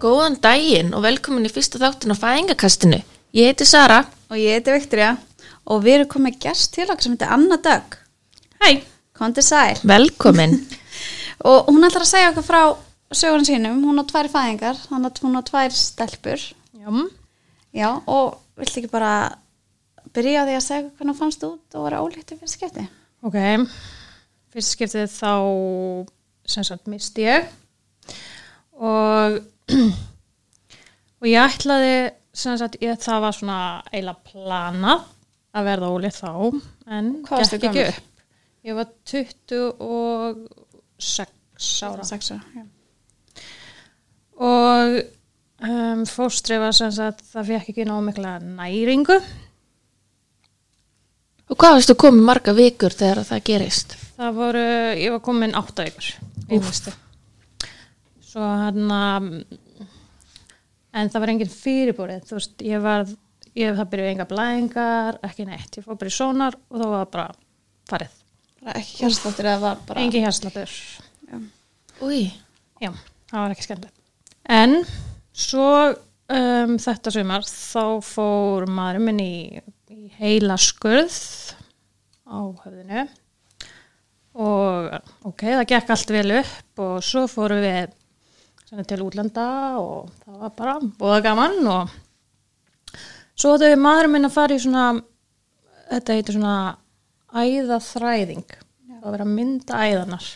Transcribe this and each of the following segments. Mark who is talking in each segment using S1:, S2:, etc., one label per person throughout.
S1: Góðan daginn og velkomin í fyrsta þáttin á fæðingakastinu. Ég heiti Sara.
S2: Og ég heiti Viktoria og við erum komið gæst til okkar sem heitir Anna Dögg.
S1: Hæ.
S2: Kondi sæl.
S1: Velkomin.
S2: Og hún ætlar að segja okkur frá sögunum sínum. Hún á tvær fæðingar, þannig að hún á tvær stelpur.
S1: Já.
S2: Já, og viltu ekki bara byrja á því að segja okkur hvernig þú fannst út og vera ólíkt í fyrst skipti?
S3: Ok, fyrst skiptið þá sem sagt misti ég og, og ég ætlaði sem sagt ég, það var svona eila planað að verða ólið þá en
S2: Hvað varstu
S3: gekk ekki
S2: gömul?
S3: upp. Ég var 26 ára
S2: Sex ára, já.
S3: og um, fóstri var sem sagt það fekk ekki nóg mikla næringu
S1: Og hvað varstu komið marga vikur þegar það gerist?
S3: Það voru, ég var komin átta ykkur í mistu. Svo hann en það var engin fyrirbúrið, þú veist, ég var, ég það byrjuði enga blæðingar, ekki neitt, ég fór bara í sónar og þá var það bara farið.
S2: Bara ekki kjærstáttur eða var bara...
S3: Engin hérslatur.
S1: Úi.
S3: Já, það var ekki skemmtilegt. En svo um, þetta sumar þá fór maður minn í, í heila skurð á höfðinu og ok, það gekk allt vel upp og svo fórum við svona, til útlanda og það var bara búða gaman og svo þau maður minn að fara í svona þetta heitir svona æðaþræðing það var verið að mynda æðanar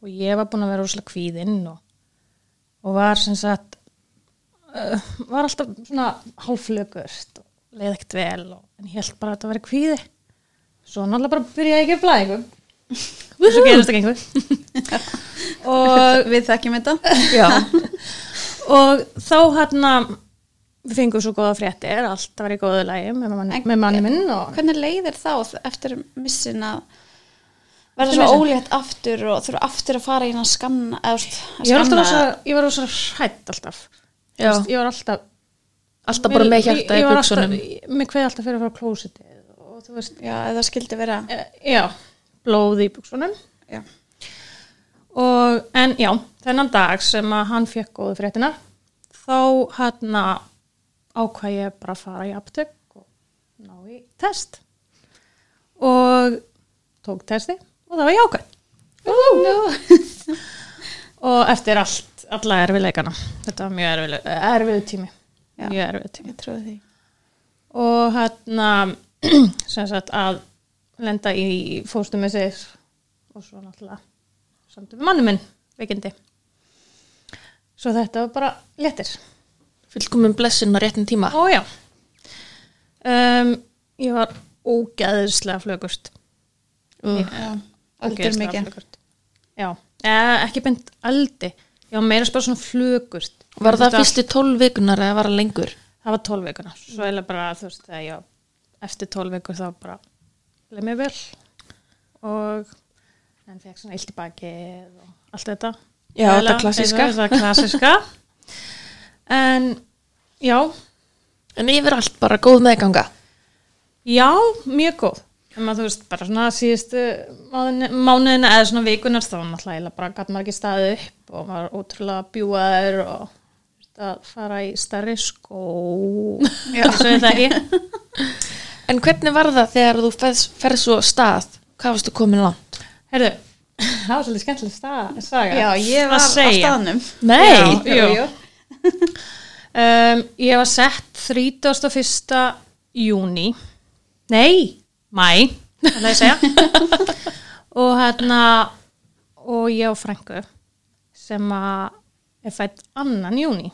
S3: og ég var búin að vera úrslega kvíðinn og, og var sem sagt uh, var alltaf svona hálflögust og leið ekkert vel og, en ég held bara að þetta væri kvíði svo náttúrulega bara byrjaði ég ekki að blæðingum og svo gerist ekki einhver og
S2: Við þekkjum þetta.
S3: Já. og þá hann við fengum svo góða fréttir, allt var í góðu lægi með, mann,
S2: En-
S3: með manni minn og
S2: Hvernig leiðir þá eftir missin að verða
S3: Eftir
S2: svo
S3: missinn?
S2: ólétt aftur og þurfa aftur að fara inn að skanna eða þú veist, að
S3: ég var alltaf
S2: skanna-
S3: rosa, ég var rosa hrætt alltaf Þú
S1: Já.
S3: veist, ég var alltaf
S1: Alltaf bara með hjarta
S3: Ég-
S1: í
S3: ég var alltaf-
S1: buksunum.
S3: mér kveði alltaf fyrir að fara á klósitið og þú veist,
S2: Já, eða skildi vera
S3: e, já, blóði í buksunum
S2: Já.
S3: og, en já, þennan dag sem að hann fekk góðu fréttina þá hann ákvað ég bara að fara í aptek og ná í test og tók testi og það var jákvæð og eftir allt, alla erfiðleikana þetta var mjög erfið, erfið tími
S2: Já.
S3: mjög erfið tími
S2: Ég trúi því.
S3: og hérna sem sagt að lenda í fóstum með sér og svo náttúrulega samt við manni minn veikindi svo þetta var bara léttir
S1: Fylgkomum blessin á réttin tíma.
S3: Ó já um, ég var ógeðislega flögust
S1: Uh.
S2: Já,
S3: Ógeðslega
S2: aldur mikið.
S3: flökurt. já, e, ekki beint eldi ég var meira bara svona flögust
S1: Var það fyrstu tólf vikunar eða var það lengur?
S3: það var tólf vikuna svo er bara þú veist þegar ég var eftir tólf vikur þá bara leið mér vel og en fekk svona illt í baki og allt þetta
S1: Já, þetta
S3: Eiginlega-
S1: klassíska.
S3: eiginlega þetta klassiska en já
S1: En yfir allt bara góð meðganga.
S3: já, mjög góð en maður þú veist bara svona síðustu mánuðin- mánuðina eða svona vikunar þá náttúrulega eiginlega bara gatt maður ekki staðið upp og var ótrúlega bjúaður og þú veist, að fara í stærri skó svo er það ekki
S1: En hvernig var það þegar þú ferð, ferð svo af stað? Hvað varstu komin langt?
S3: Herðu, það var svolítið skemmtileg sta- saga.
S2: Já, ég var
S3: Að
S2: á
S3: segja.
S2: staðnum.
S3: Nei,
S2: Já, jú.
S3: Um, ég var sett 31. júni. Nei, mæ, ætlaði ég að segja. og hérna, og ég og frængu sem að er fætt annan júni.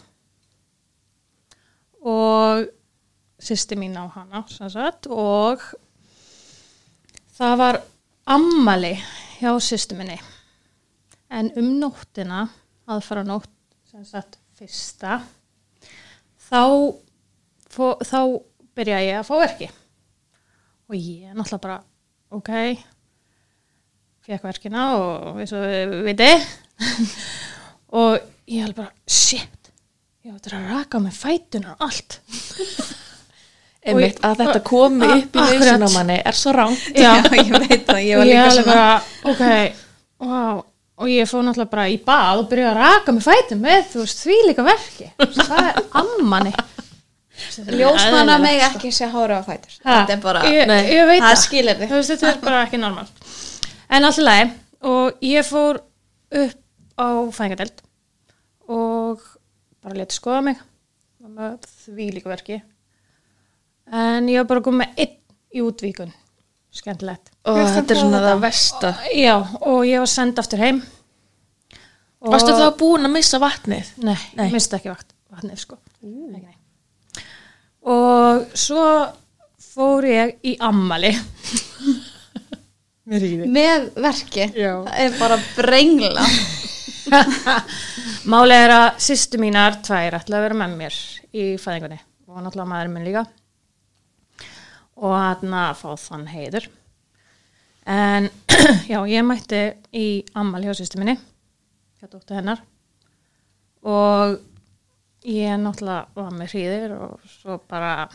S3: Og sýsti mín á hana, sem sagt, og það var ammali hjá sýsti minni. En um nóttina, aðfara nótt, sem sagt, fyrsta, þá, fó, þá byrja ég að fá verki. Og ég náttúrulega bara, ok, fekk verkina og eins og við viti. og ég alveg bara, shit, ég áttur að raka með fætunar og allt.
S1: Einmitt, að þetta komi
S3: A-
S1: upp í
S3: akkurat.
S1: hausinn á manni er svo rangt.
S2: Já, ég veit það, ég var
S3: Og
S2: líka
S3: alveg
S2: svona.
S3: bara, ok, wow, og ég fór náttúrulega bara í bað og byrjaði að raka með fætum með, þú veist, því líka verki það er ammanni
S2: Ljósmanna meg ekki sé hára á fætur. Þetta er bara,
S3: ég, ég veit
S2: það skilur þig.
S3: Þú veist, þetta er bara ekki normal en alltaf leið og ég fór upp á fæðingadeld og bara leti skoða mig Var með því líka verki en ég var bara að koma með einn í útvíkun skemmtilegt
S1: og þetta er svona það versta
S3: já, og ég var send aftur heim Og-
S1: Varstu þá búin að missa vatnið?
S3: Nei,
S1: Nei.
S3: Nei. minnst ekki vakt, vatnið sko. Ekki, nei. Og svo fór ég í ammali. Mér ríði.
S2: með verki.
S3: Já.
S2: Það er bara brengla.
S3: Málið er að sýstu mínar tvær ætla að vera með mér í fæðingunni og náttúrulega maður minn líka. Og hann að fá þann heiður. En já, ég mætti í ammali hjá sýstu minni, hjá dóttu hennar. og ég náttúrulega var með hríðir og svo bara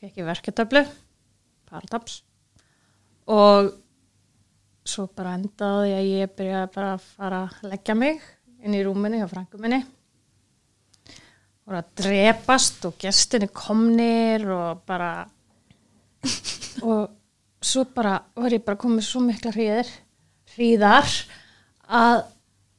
S3: fekk ég verketöflu parataps og svo bara endaði að ég byrjaði bara að fara að leggja mig inn í rúminu hjá frangum minni og að drepast og gestinni komnir og bara og svo bara var ég bara komið svo mikla hríðir hríðar að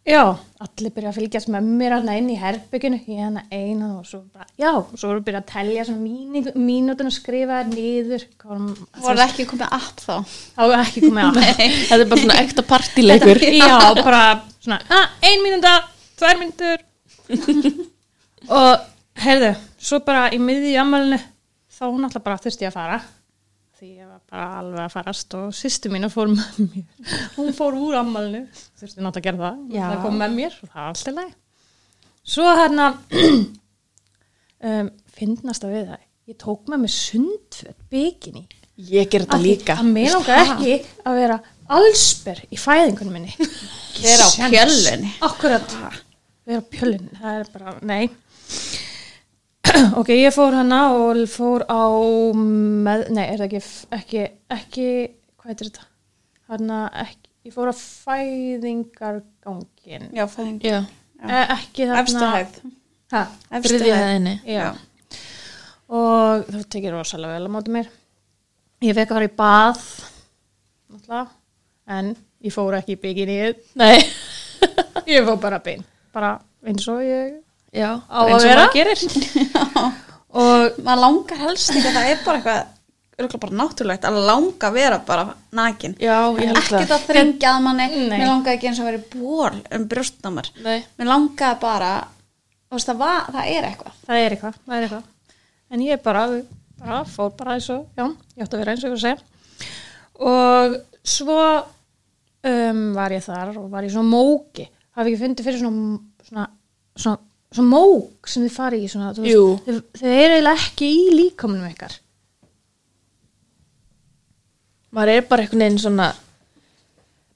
S3: já, allir byrja að fylgjast með mér hann inn í herbygginu, ég hann eina og svo bara, já, svo voru byrja að telja svona mínu- mínútuna skrifaðar niður kom,
S2: Voru ekki komið app þá.
S3: þá er ekki komið að
S1: Þetta er bara svona ekta partileikur
S3: Já, bara svona, ah, ein mínúnda, tvær mínúndur og heyrðu, svo bara í miðju ammælinu þá náttúrulega bara þurfti ég að fara því ég var bara alveg að farast og sýstu mín fór með mér hún fór úr ammælinu, þurfti náttúrulega að gera það
S1: Já.
S3: það kom með mér og það var alltaf leið svo hérna um, finnast að við það ég tók með mér sundföt bikini
S1: Ég ger þetta
S3: Af því
S1: líka
S3: að mér langar ekki að vera allsber í fæðingunum minni Ekki
S2: Vera á
S3: séns.
S2: pjöllunni.
S3: akkurat vera á pjöllunni, það er bara, nei ok, ég fór hana og fór á með, nei, er það ekki ekki, ekki, hvað heitir þetta hana, ekki, ég fór á fæðingargangin
S2: Já, fæðingi.
S1: Já,
S3: e, ekki þarna
S2: Efstu hæð.
S3: ha,
S2: Efstu
S1: þriðja
S2: hæð.
S1: hæðinni
S3: já og þú tekir rosalega vel á móti mér ég fekk að fara í bað náttúrulega en ég fór ekki í bygginið
S1: Nei,
S3: ég fór bara bein bara eins og ég
S1: já,
S3: Á
S1: eins
S3: að
S1: og
S3: vera?
S1: maður gerir
S3: og
S2: Maður langar helst ekki að það er bara eitthvað, örgulega bara náttúrulegt að langa að vera bara nakin.
S1: Já, ég held
S2: Ekki
S1: það
S2: það þringja að manni,
S3: Nei.
S2: mér langaði ekki eins og að vera ból um brjóstnámar.
S1: Nei,
S2: Mér langaði bara, þú veist það, var, það er eitthvað.
S3: það er eitthvað, það er eitthvað. En ég bara, bara fór bara eins og, já, ég átti að vera eins og ég var að segja. Og svo um, var ég þar og var ég svona móki. Hafi ekki fundið fyrir svona, svona, svona, svona mók sem þið farið í svona, þú
S1: Jú.
S3: þið, þið eru eiginlega ekki í líkamunum ykkar.
S1: maður er bara einhvern veginn svona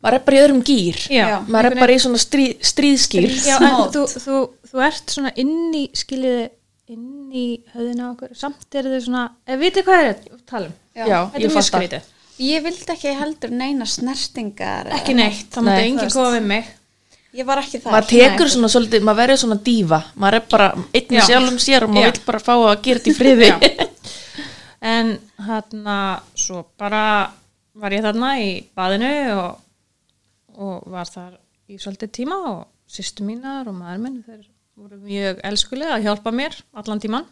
S1: Maður er bara í öðrum gýr
S2: Já.
S1: Maður er bara í svona strí, stríðskýr
S3: Já, en
S2: Snót.
S3: þú, þú, þú ert svona inn í, skiljiði, inn í höfðina okkur. Samt eru þau svona, eh, vitið hvað er þetta? Talum.
S2: Já.
S1: Já,
S3: um. Þetta
S1: ég
S3: er mjög
S1: fatt að
S3: skrítið.
S2: Ég vildi ekki heldur neina snertingar.
S3: Ekki neitt, það
S1: Nei,
S3: mátti
S2: þú
S3: enginn
S2: veist.
S3: koma við mig.
S2: Ég var ekki þar.
S1: Maður tekur svona svolítið, maður verður svona dífa Maður er bara einn í
S3: Já.
S1: sjálfum sér og
S3: Já.
S1: maður vil bara fá að gera þetta í friði
S3: En hérna, svo bara var ég þarna í baðinu og, og var þar í svolítið tíma og sýstu mínar og maður minn, þeir voru mjög elskulega að hjálpa mér allan tíman.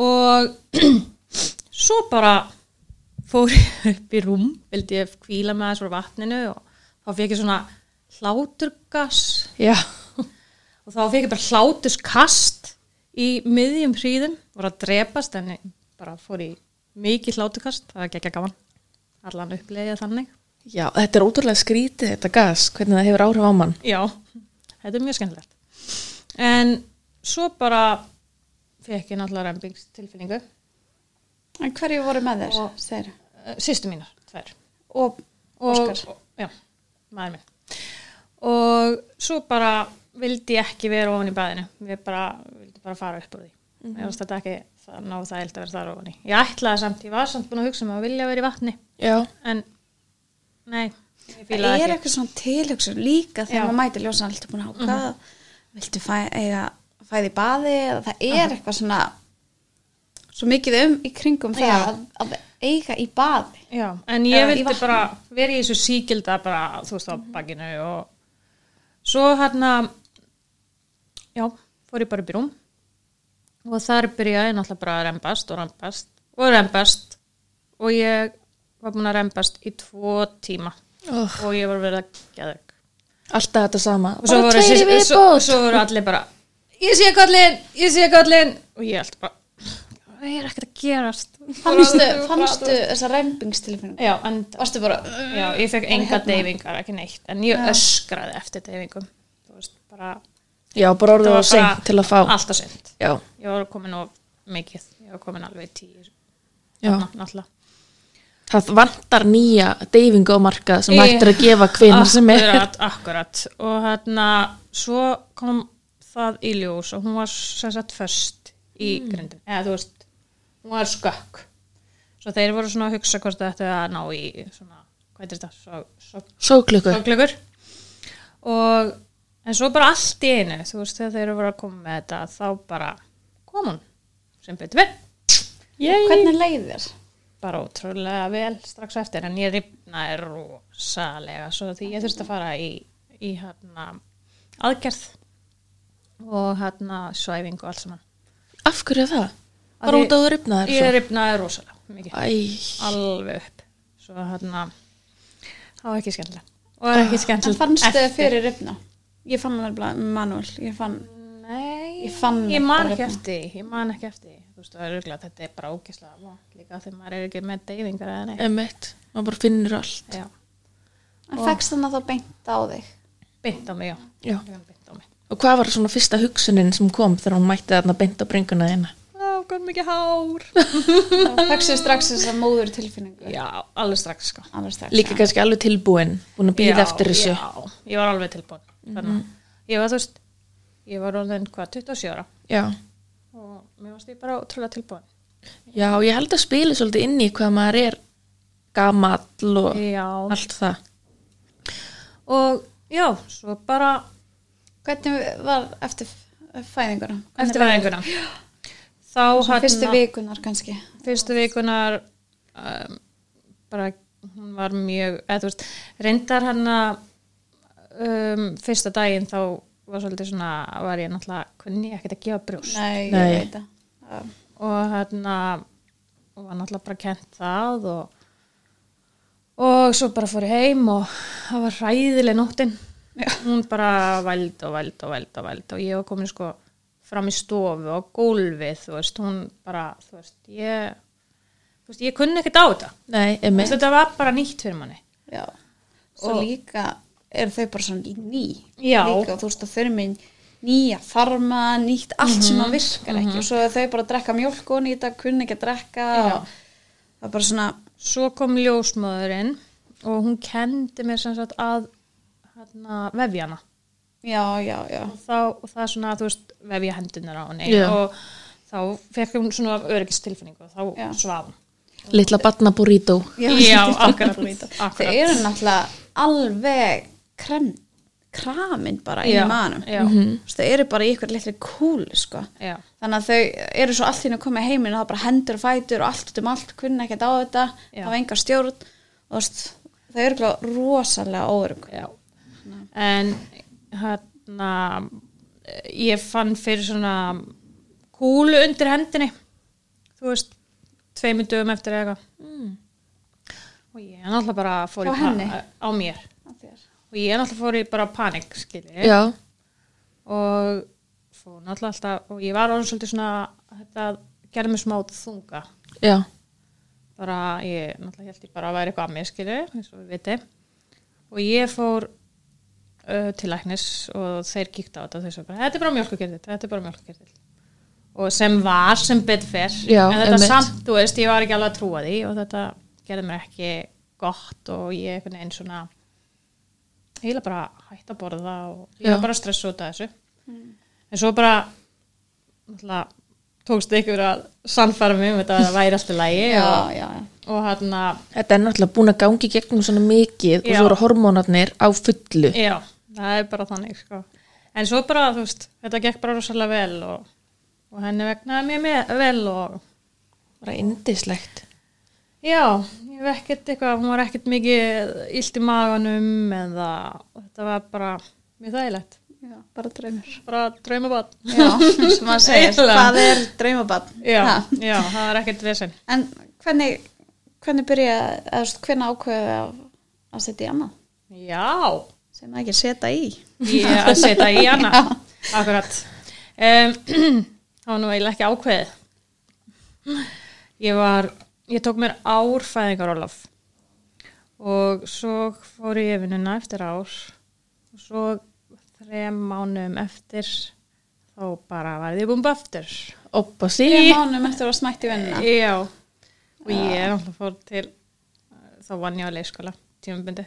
S3: Og svo bara fór ég upp í rúm, vildi ég kvíla með þess frá vatninu og þá fekk ég svona hláturgass
S1: Já,
S3: og þá fekk ég bara hlátuskast í miðjum hríðum voru að drepast en ég bara fór í mikið hlátukast, það var ekki ekki gaman allan upplega þannig
S1: já, þetta er ótrúlega skrítið þetta gas, hvernig það hefur áhrif á mann
S3: já, þetta er mjög skemmtilegt en svo bara fekk ég náttúrulega rembingstilfinningu
S2: En hverju voru með þér?
S3: Og-
S2: Þeir.
S3: sýstu Eh, mínar, tvær
S2: Og,
S3: og,
S2: Óskar.
S3: já, maður minn og svo bara vildi ég ekki vera ofan í baðinu við bara, vildi bara fara upp úr því mm -hmm. ég varst þetta ekki það ná það að vera þar ofan í ég ætlaði samt, ég var samt búin að hugsa um að vilja vera í vatni
S1: Já,
S3: en nei, Ég
S2: Það
S3: fíla
S2: er
S3: það ekki.
S2: eitthvað svona tilhugsun líka
S3: Já. Mhm.
S2: þegar maður mætir ljósan alltaf búin að ákvað mm viltu fæ, eiga, fæði í baði eða það er eitthvað svona svo mikið um í kringum það
S3: Já.
S2: að, að eiga í baði
S3: Já, en
S2: Eða
S3: ég
S2: í
S3: vildi
S2: vatni.
S3: bara vera í þessu síkilda bara, þú veist, á bakinu og svo hérna já, fór ég bara upp í rúm og þar byrjaði ég náttúrulega bara að rembast og rembast og rembast og ég var búin að rembast í tvo tíma
S1: Oh.
S3: og ég var verið að geðug
S1: Alltaf þetta sama
S3: og svo voru,
S1: tveir í
S3: svo, svo,
S1: viðbót.
S3: svo voru allir bara ég sé kallin, ég sé kallin og ég held bara það er ekkert að gerast
S2: fannstu, fannstu þessa rembingstilfinning
S3: já, en
S2: varstu bara
S3: Já, ég fekk enga
S1: hérna?
S3: deyfingar, ekki neitt, en ég öskraði eftir deyfingum, þú veist, bara,
S1: Já, bara
S3: Þetta
S1: orðið
S3: var
S1: á seint
S3: bara-
S1: til að fá
S3: alltaf sent.
S1: Já,
S3: Ég var komin of mikið, ég var komin alveg tíu,
S1: Já.
S3: þarna, náttúrulega.
S1: það vantar nýja deyfingu á marka sem
S3: Í- Ah,
S1: hægt er að gefa hvenar sem er
S3: Akkurat, akkurat, og hérna, svo kom það í ljós og hún var sem sagt först í mm. grindin, eða þú veist, hún var skökk. Svo þeir voru svona að hugsa hvort þetta að ná í svona, hvað er þetta, svo, svo
S1: Sóklöku
S3: sorglögur og en svo bara allt í einu þú veist þegar þeir eru bara að koma með þetta þá bara kom hún sem betur verð
S2: hvernig leið þér?
S3: bara ótrúlega vel strax á eftir en ég ripnaði rosalega svo því ég þurfti að fara í, í hérna, aðgerð og hérna svæfingu og allt saman
S1: Af hverju það?
S3: Af
S1: Bara
S3: því-
S1: út á þú ripnaðir
S3: ég
S1: svo
S3: ripnaði rosalega mikið
S1: Æ,
S3: alveg upp svo hérna það var ekki skemmtilega
S1: Ah,
S3: og það var ekki
S2: en
S3: skemmtilega
S2: fannstu
S3: eftir.
S2: þið fyrir rifna? ég fann hann alveg manuel ég fann
S3: Nei,
S2: Ég fann
S3: ég
S2: það
S3: man
S2: bara
S3: ekki
S2: hérna.
S3: eftir, því, ég man ekki eftir því. þú veist, það er auðvitað, þetta er bara ógislega vond líka þegar maður er ekki með deyfingar eða neitt
S1: emitt, maður bara finnur allt
S3: já,
S2: en fegst þannig að það beint á þig
S3: beint á mig, já,
S1: Já.
S3: Ég fann beint á mig
S1: Og hvað var svona fyrsta hugsunin sem kom þegar hún mætti þarna beint á bringuna þeina?
S3: Ó, hvað mikið hár
S2: fegstu strax þessa móður tilfinningu
S3: Já, alveg strax sko
S2: alveg strax
S1: Líka kannski alveg tilbúin, búin að býða
S3: Já,
S1: eftir þessu
S3: Já, ég var alveg tilbúin þannig, að ég var þú veist ég var orðin hvað, 27 ára
S1: Já.
S3: og mér varst ég bara ótrúlega tilbúin
S1: Já, ég held að spila svolítið inn í hvað maður er gamall og
S3: Já,
S1: allt það.
S3: og já, svo bara
S2: Hvernig var eftir fæðinguna?
S3: eftir væðinguna þá hérna-
S2: Svona Fyrstu vikunar kannski.
S3: fyrstu vikunar um, bara hún var mjög eða, þú veist, reyndar hann um, fyrsta daginn þá var svolítið svona var ég náttúrulega kunni ekkert að gefa brjóst
S2: Nei,
S1: Nei.
S2: ég veit það. það.
S3: og hann var náttúrulega bara kent það og og svo bara fór ég heim og það var hræðileg nóttin hún bara væld og væld og væld og væld og ég var komin sko fram í stofu og gólfið þú veist, hún bara, þú veist, ég þú veist, ég kunni ekkert á þetta
S1: Nei,
S3: Þú
S1: emi.
S3: veist, þetta var bara nýtt fyrir manni
S2: Já. Svo
S3: Og-
S2: líka eru þau bara svona í ný.
S3: Já.
S2: Líka og þú veist að þau eru með nýja farma, nýtt allt sem
S3: Mhm,
S2: að virkar ekki. Og svo eru þau bara að drekka mjólk og nýta, kunni ekki að drekka.
S3: Já.
S2: og Það er bara svona,
S3: svo kom ljósmaðurinn og hún kendi mér sem sagt að hérna, vefja hana
S2: já, já, já.
S3: og, þá, og það er svona, þú veist, vefja hendunar á henni
S1: Já.
S3: og þá fekk hún svona öryggistilfinningu og þá
S2: Já.
S3: svaf hún
S1: Lilla batna burrito.
S3: Já, akkurat, akkurat.
S2: Þau eru náttúrulega alveg krem, kramin bara í
S3: Já,
S2: manum.
S3: já.
S2: -hmm. Þau eru bara í ykkur litli kúli, sko.
S3: Já,
S2: þannig að þau eru svo allt þínu að koma í heiminn og það er bara hendur og fætur og allt út um allt kunna ekkert á þetta,
S3: Já.
S2: það var enga stjórn og þú veist, þau eru glá rosalega óörug
S3: já en hérna ég fann fyrir svona kúlu undir hendinni þú veist, tveimur dögum eftir eða eitthvað og ég er náttúrulega bara fór
S2: Hjá
S3: í pa-
S2: henni?
S3: á mér og ég er náttúrulega fór í bara panik skilji
S1: Já.
S3: og fór náttúrulega alltaf og ég var orðin svolítið svona þetta gerði mig smá þunga
S1: Já.
S3: bara ég náttúrulega held ég bara að væri eitthvað að mér skilju eins og við viti og ég fór uh, til læknis og þeir kíkta á þetta og þeir svo bara þetta er bara mjölkukertill, þetta er bara mjölkukertill og sem var sem betur fer
S1: Já,
S3: en þetta
S1: einmitt.
S3: samt, þú veist, ég var ekki alveg að trúa því og þetta gerði mér ekki gott og ég einhvern veginn svona ég heila bara hætt að borða og ég
S1: Já.
S3: var bara stressa út af þessu en svo bara náttúrulega tókst ykkur að sannfæra mig um þetta að það væri alltaf lægi
S2: já,
S3: og
S2: já, já.
S3: og hérna, hann að
S1: Þetta er náttúrulega búin að gangi gegnum svona mikið og
S3: Já.
S1: svo eru hormónarnir á fullu.
S3: Já, það er bara þannig sko. En svo bara, þú veist, þetta gekk bara rosalega vel og, og henni vegnaði mér með, vel og
S1: Bara indislegt.
S3: já, ég var ekkert eitthvað, hún var ekkert mikið illt í maganum eða þetta var bara mjög þægilegt.
S2: Já, bara draumur.
S3: Bara draumabat.
S2: Já, sem maður segir,
S3: Eiginlega.
S2: hvað er draumabann?
S3: Já, já, það var ekkert vesinn.
S2: En hvernig, hvernig byrja, eða þú veist, hvernig ákveðu að, að setja í annað?
S3: Já,
S2: Sem maður ekki setja í.
S3: ég að setja í hana. Akkurat. Um, það var nú eiginlega ekki ákveðið. Ég var, ég tók mér ár fæðingarólof og svo fór ég í vinnuna eftir ár og svo þrem mánum eftir þá bara var ég búin bara aftur.
S1: Oppa
S2: Fyrir
S1: sí.
S2: mánum eftir að smætti vinnuna.
S3: Já. Og ég er alltaf fór til, þá vann ég á leikskóla tímabundi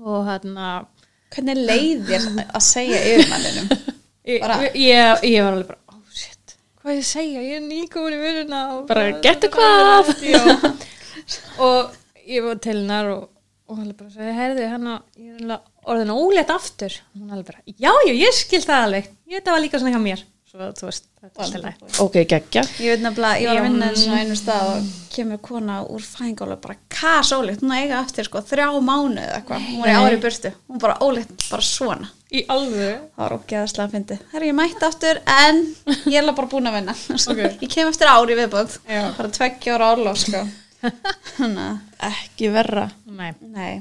S3: og hérna
S2: Hvernig leiðir að segja yfirmanninum?
S3: ég,
S2: Bara-
S3: ég, ég, ég var alveg bara, oh shit, hvað ég segja, ég er nýkomin í vinnuna og
S1: Bara, "Gettu hvað?"
S3: Já. og ég var til hennar og, og hann bara sagði, herðu, hann að ég er alveg orðin ólétt aftur og hún alveg bara, já, já, ég skil það alveg ég þetta var líka svona hjá mér svo þú veist, þetta er alltaf
S1: Ok, geggja.
S2: Ég veit nefnilega, ég var að vinna eins og einu stað og kemur kona úr fæðingála bara kas ólitt, hún er að eiga eftir sko þrjá mánuð eða eitthvað, hún er í ári burtu hún bara ólitt, bara svona
S3: í alveg
S2: það var ógeðaslega að fyndi, herri ég mætti aftur en ég er bara búin að vinna
S3: Ok.
S2: ég kem eftir ári viðbúð
S3: Já.
S2: bara tveggja ára ála sko þannig að,
S1: Ekki verra.
S3: Nei.
S2: nei,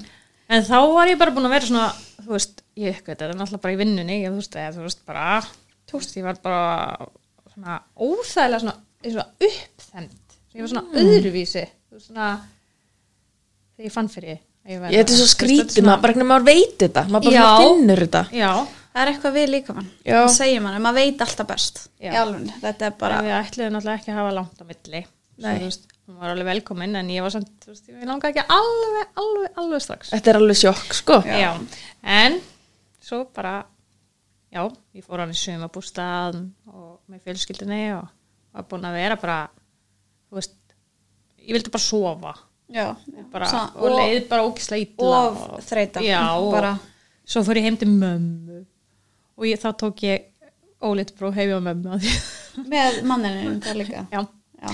S3: en þá var ég bara búin að vera svona þú veist, ég eitthvað, þetta er náttúrulega bara í vinnunni ég, þú veist, eða, þú veist, bara þú veist, ég var bara svona óþægilega svona, svona uppþend ég var svona
S1: Mm.
S3: öðruvísi þú veist, svona þegar ég fann fyrir því að ég væri-
S1: Ég, þetta er svo
S3: þú veist, þetta er
S1: skrítið, maður bara hvernig maður veit þetta. Maður bara
S3: Já.
S1: svona finnur þetta.
S3: já,
S2: það er eitthvað við líka mann
S1: Já.
S2: það segir mann, maður veit alltaf best
S3: Já.
S2: í alveg, þetta er bara
S3: en við ætluðum náttúrulega ekki að hafa langt á milli Svo,
S1: Nei.
S3: þú veist, hún var alveg velkomin en ég var samt, þú veist, ég langaði ekki alveg, alveg, alveg strax
S1: Þetta er alveg sjokk, sko.
S3: já. en svo bara já, ég fór hann í sumabústað og með fjölskyldinni og var búin að vera bara þú veist, ég vildi bara sofa
S2: já, já.
S3: bara,
S2: Svona-
S3: og, leið bara ógislega illa
S2: og þreyta
S3: já, og
S2: bara,
S3: svo fór ég heim til mömmu og ég, þá tók ég óleitt bró hefi á mömmu að því
S2: með manninu það líka
S3: já,
S2: já.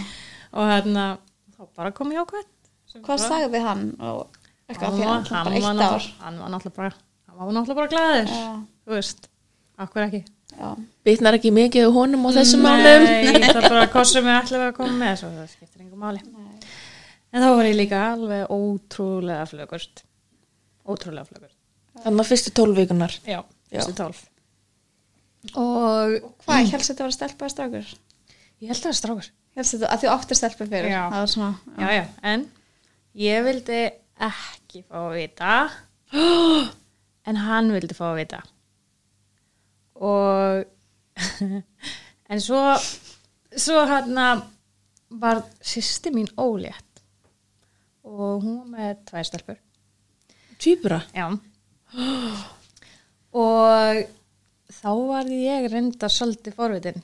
S3: og hérna þá bara kom ég ákvæmt
S2: Hvað sagði hann? Og eitthvað fyrir hann, bara
S3: var
S2: eitt ár.
S3: náttúrulega- hann var náttúrulega bara hann var náttúrulega bara glæður
S2: Já.
S3: þú veist, akkur ekki
S2: Já.
S1: Bitnar ekki mikið á honum og þessum málum.
S3: Nei, það er bara hvað sem við ætlum að koma með svo það skiptir engum máli En þá var ég líka alveg ótrúlega flögurt Ótrúlega flögurt
S1: Þannig að fyrstu tólvíkunar.
S3: Já,
S1: Já.
S3: þessi tólf Og
S2: Hvað, ég helst þetta var stelpa eða strákur?
S3: ég held að það er strákur
S2: Helst þetta, að þú áttir stelpa fyrir.
S3: Já.
S2: Það var svona,
S3: Já, já, en ég vildi ekki fá að vita En hann vildi fá að vita Og En svo Svo hann var sýsti mín ólétt og hún var með tvær stelpur
S1: Týpura.
S3: Já. Og þá var ég reyndar svolítið forvitin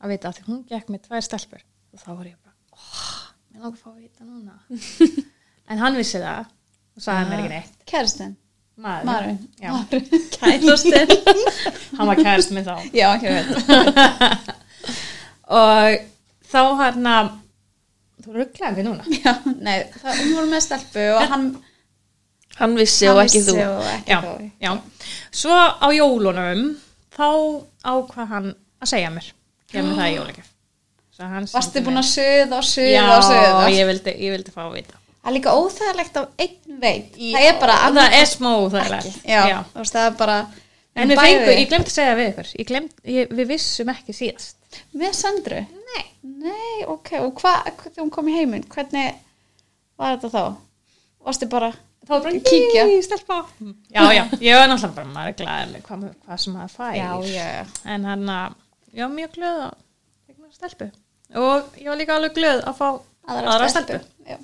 S3: að vita að því hún gekk með tvær stelpur og þá var ég bara, óh, mér langar að fá að vita núna. en hann vissi það og sagði mér ekki neitt.
S2: kæristinn,
S3: Maður.
S2: maðurinn.
S3: Já,
S2: Maðurinn. Kæristinn.
S3: hann var kærist með þá.
S2: Já, ekki veit.
S3: Og þá hann að, þú rugglaði ekki núna.
S2: Já, nei, það, hún var með stelpu og hann,
S1: Hann vissi
S2: hann
S1: og ekki
S2: vissi
S1: þú.
S2: og ekki
S3: já,
S2: þú.
S3: já. Svo á jólunum þá ákvað hann að segja mér gef mér það í jólagjöf Svo hann
S2: Varstu
S3: sendi
S2: búin
S3: mér-
S2: að suða og
S3: Já,
S2: suða og suða?
S3: ég vildi, ég vildi fá að vita
S2: Það er líka óþægilegt af einn veit. Það er bara
S3: Það er smá þærlegt
S2: Já, þú veist, það er bara...
S3: En við
S2: bæði-
S3: fengum, ég glemt að segja við ykkur ég glemt, ég, Við vissum ekki síðast
S2: Með Sandru?
S3: Nei
S2: Nei, ok, og hvað, hva, þegar hún kom í heiminn, hvernig var þetta þá? Varstu bara,
S3: Þá var bara
S2: Kíkja.
S3: "Í, stelpa Mm. Já, já, ég var náttúrulega bara maður glæðið með hvað, hvað sem maður fær
S2: já,
S3: En hann að, ég var mjög glöð að tegna stelpu Og ég var líka alveg glöð að fá
S2: aðra, stelpu. Já.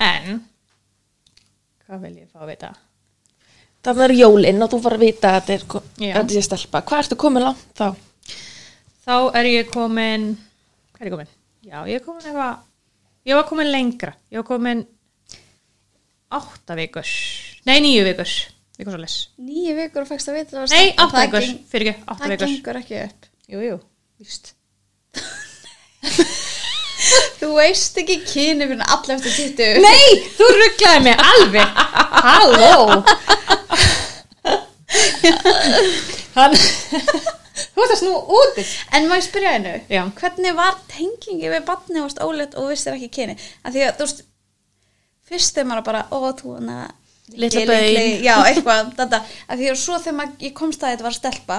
S3: En Hvað vil ég fá að vita?
S1: Þannig er jólinn og þú var að vita að þetta er, ko-
S3: Já.
S1: að þetta er stelpa. Hvað ertu komin langt þá?
S3: Þá er ég komin Hvað er ég komin? Já, ég er komin eitthvað Ég var komin lengra. Ég var komin átta vikur. Nei, níu vikur. Vikur svo les.
S2: Nýju vikur og fækst að vita að það var
S3: Nei,
S2: stelpa.
S3: átta
S2: Það
S3: vikur.
S2: geng-
S3: Fyrir ekki, átta
S2: Það
S3: vikur.
S2: gengur ekki upp.
S3: Jú, jú, víst.
S2: Þú veist ekki kyni fyrir allir eftir 20.
S3: Nei, þú rugglaði mig alveg. Halló. Hann, þú ert að snú úti.
S2: En má ég spyrja einu?
S3: Já.
S2: Hvernig var tengingi við barni og varst ólétt og vissir ekki kyni? Af því að þú veist, fyrst er maður bara, ó, þú hana...
S1: Litla
S2: litli,
S1: baun.
S2: litli, Já, eitthvað, þetta. Af því að svo þegar maður, ég komst að þetta var stelpa,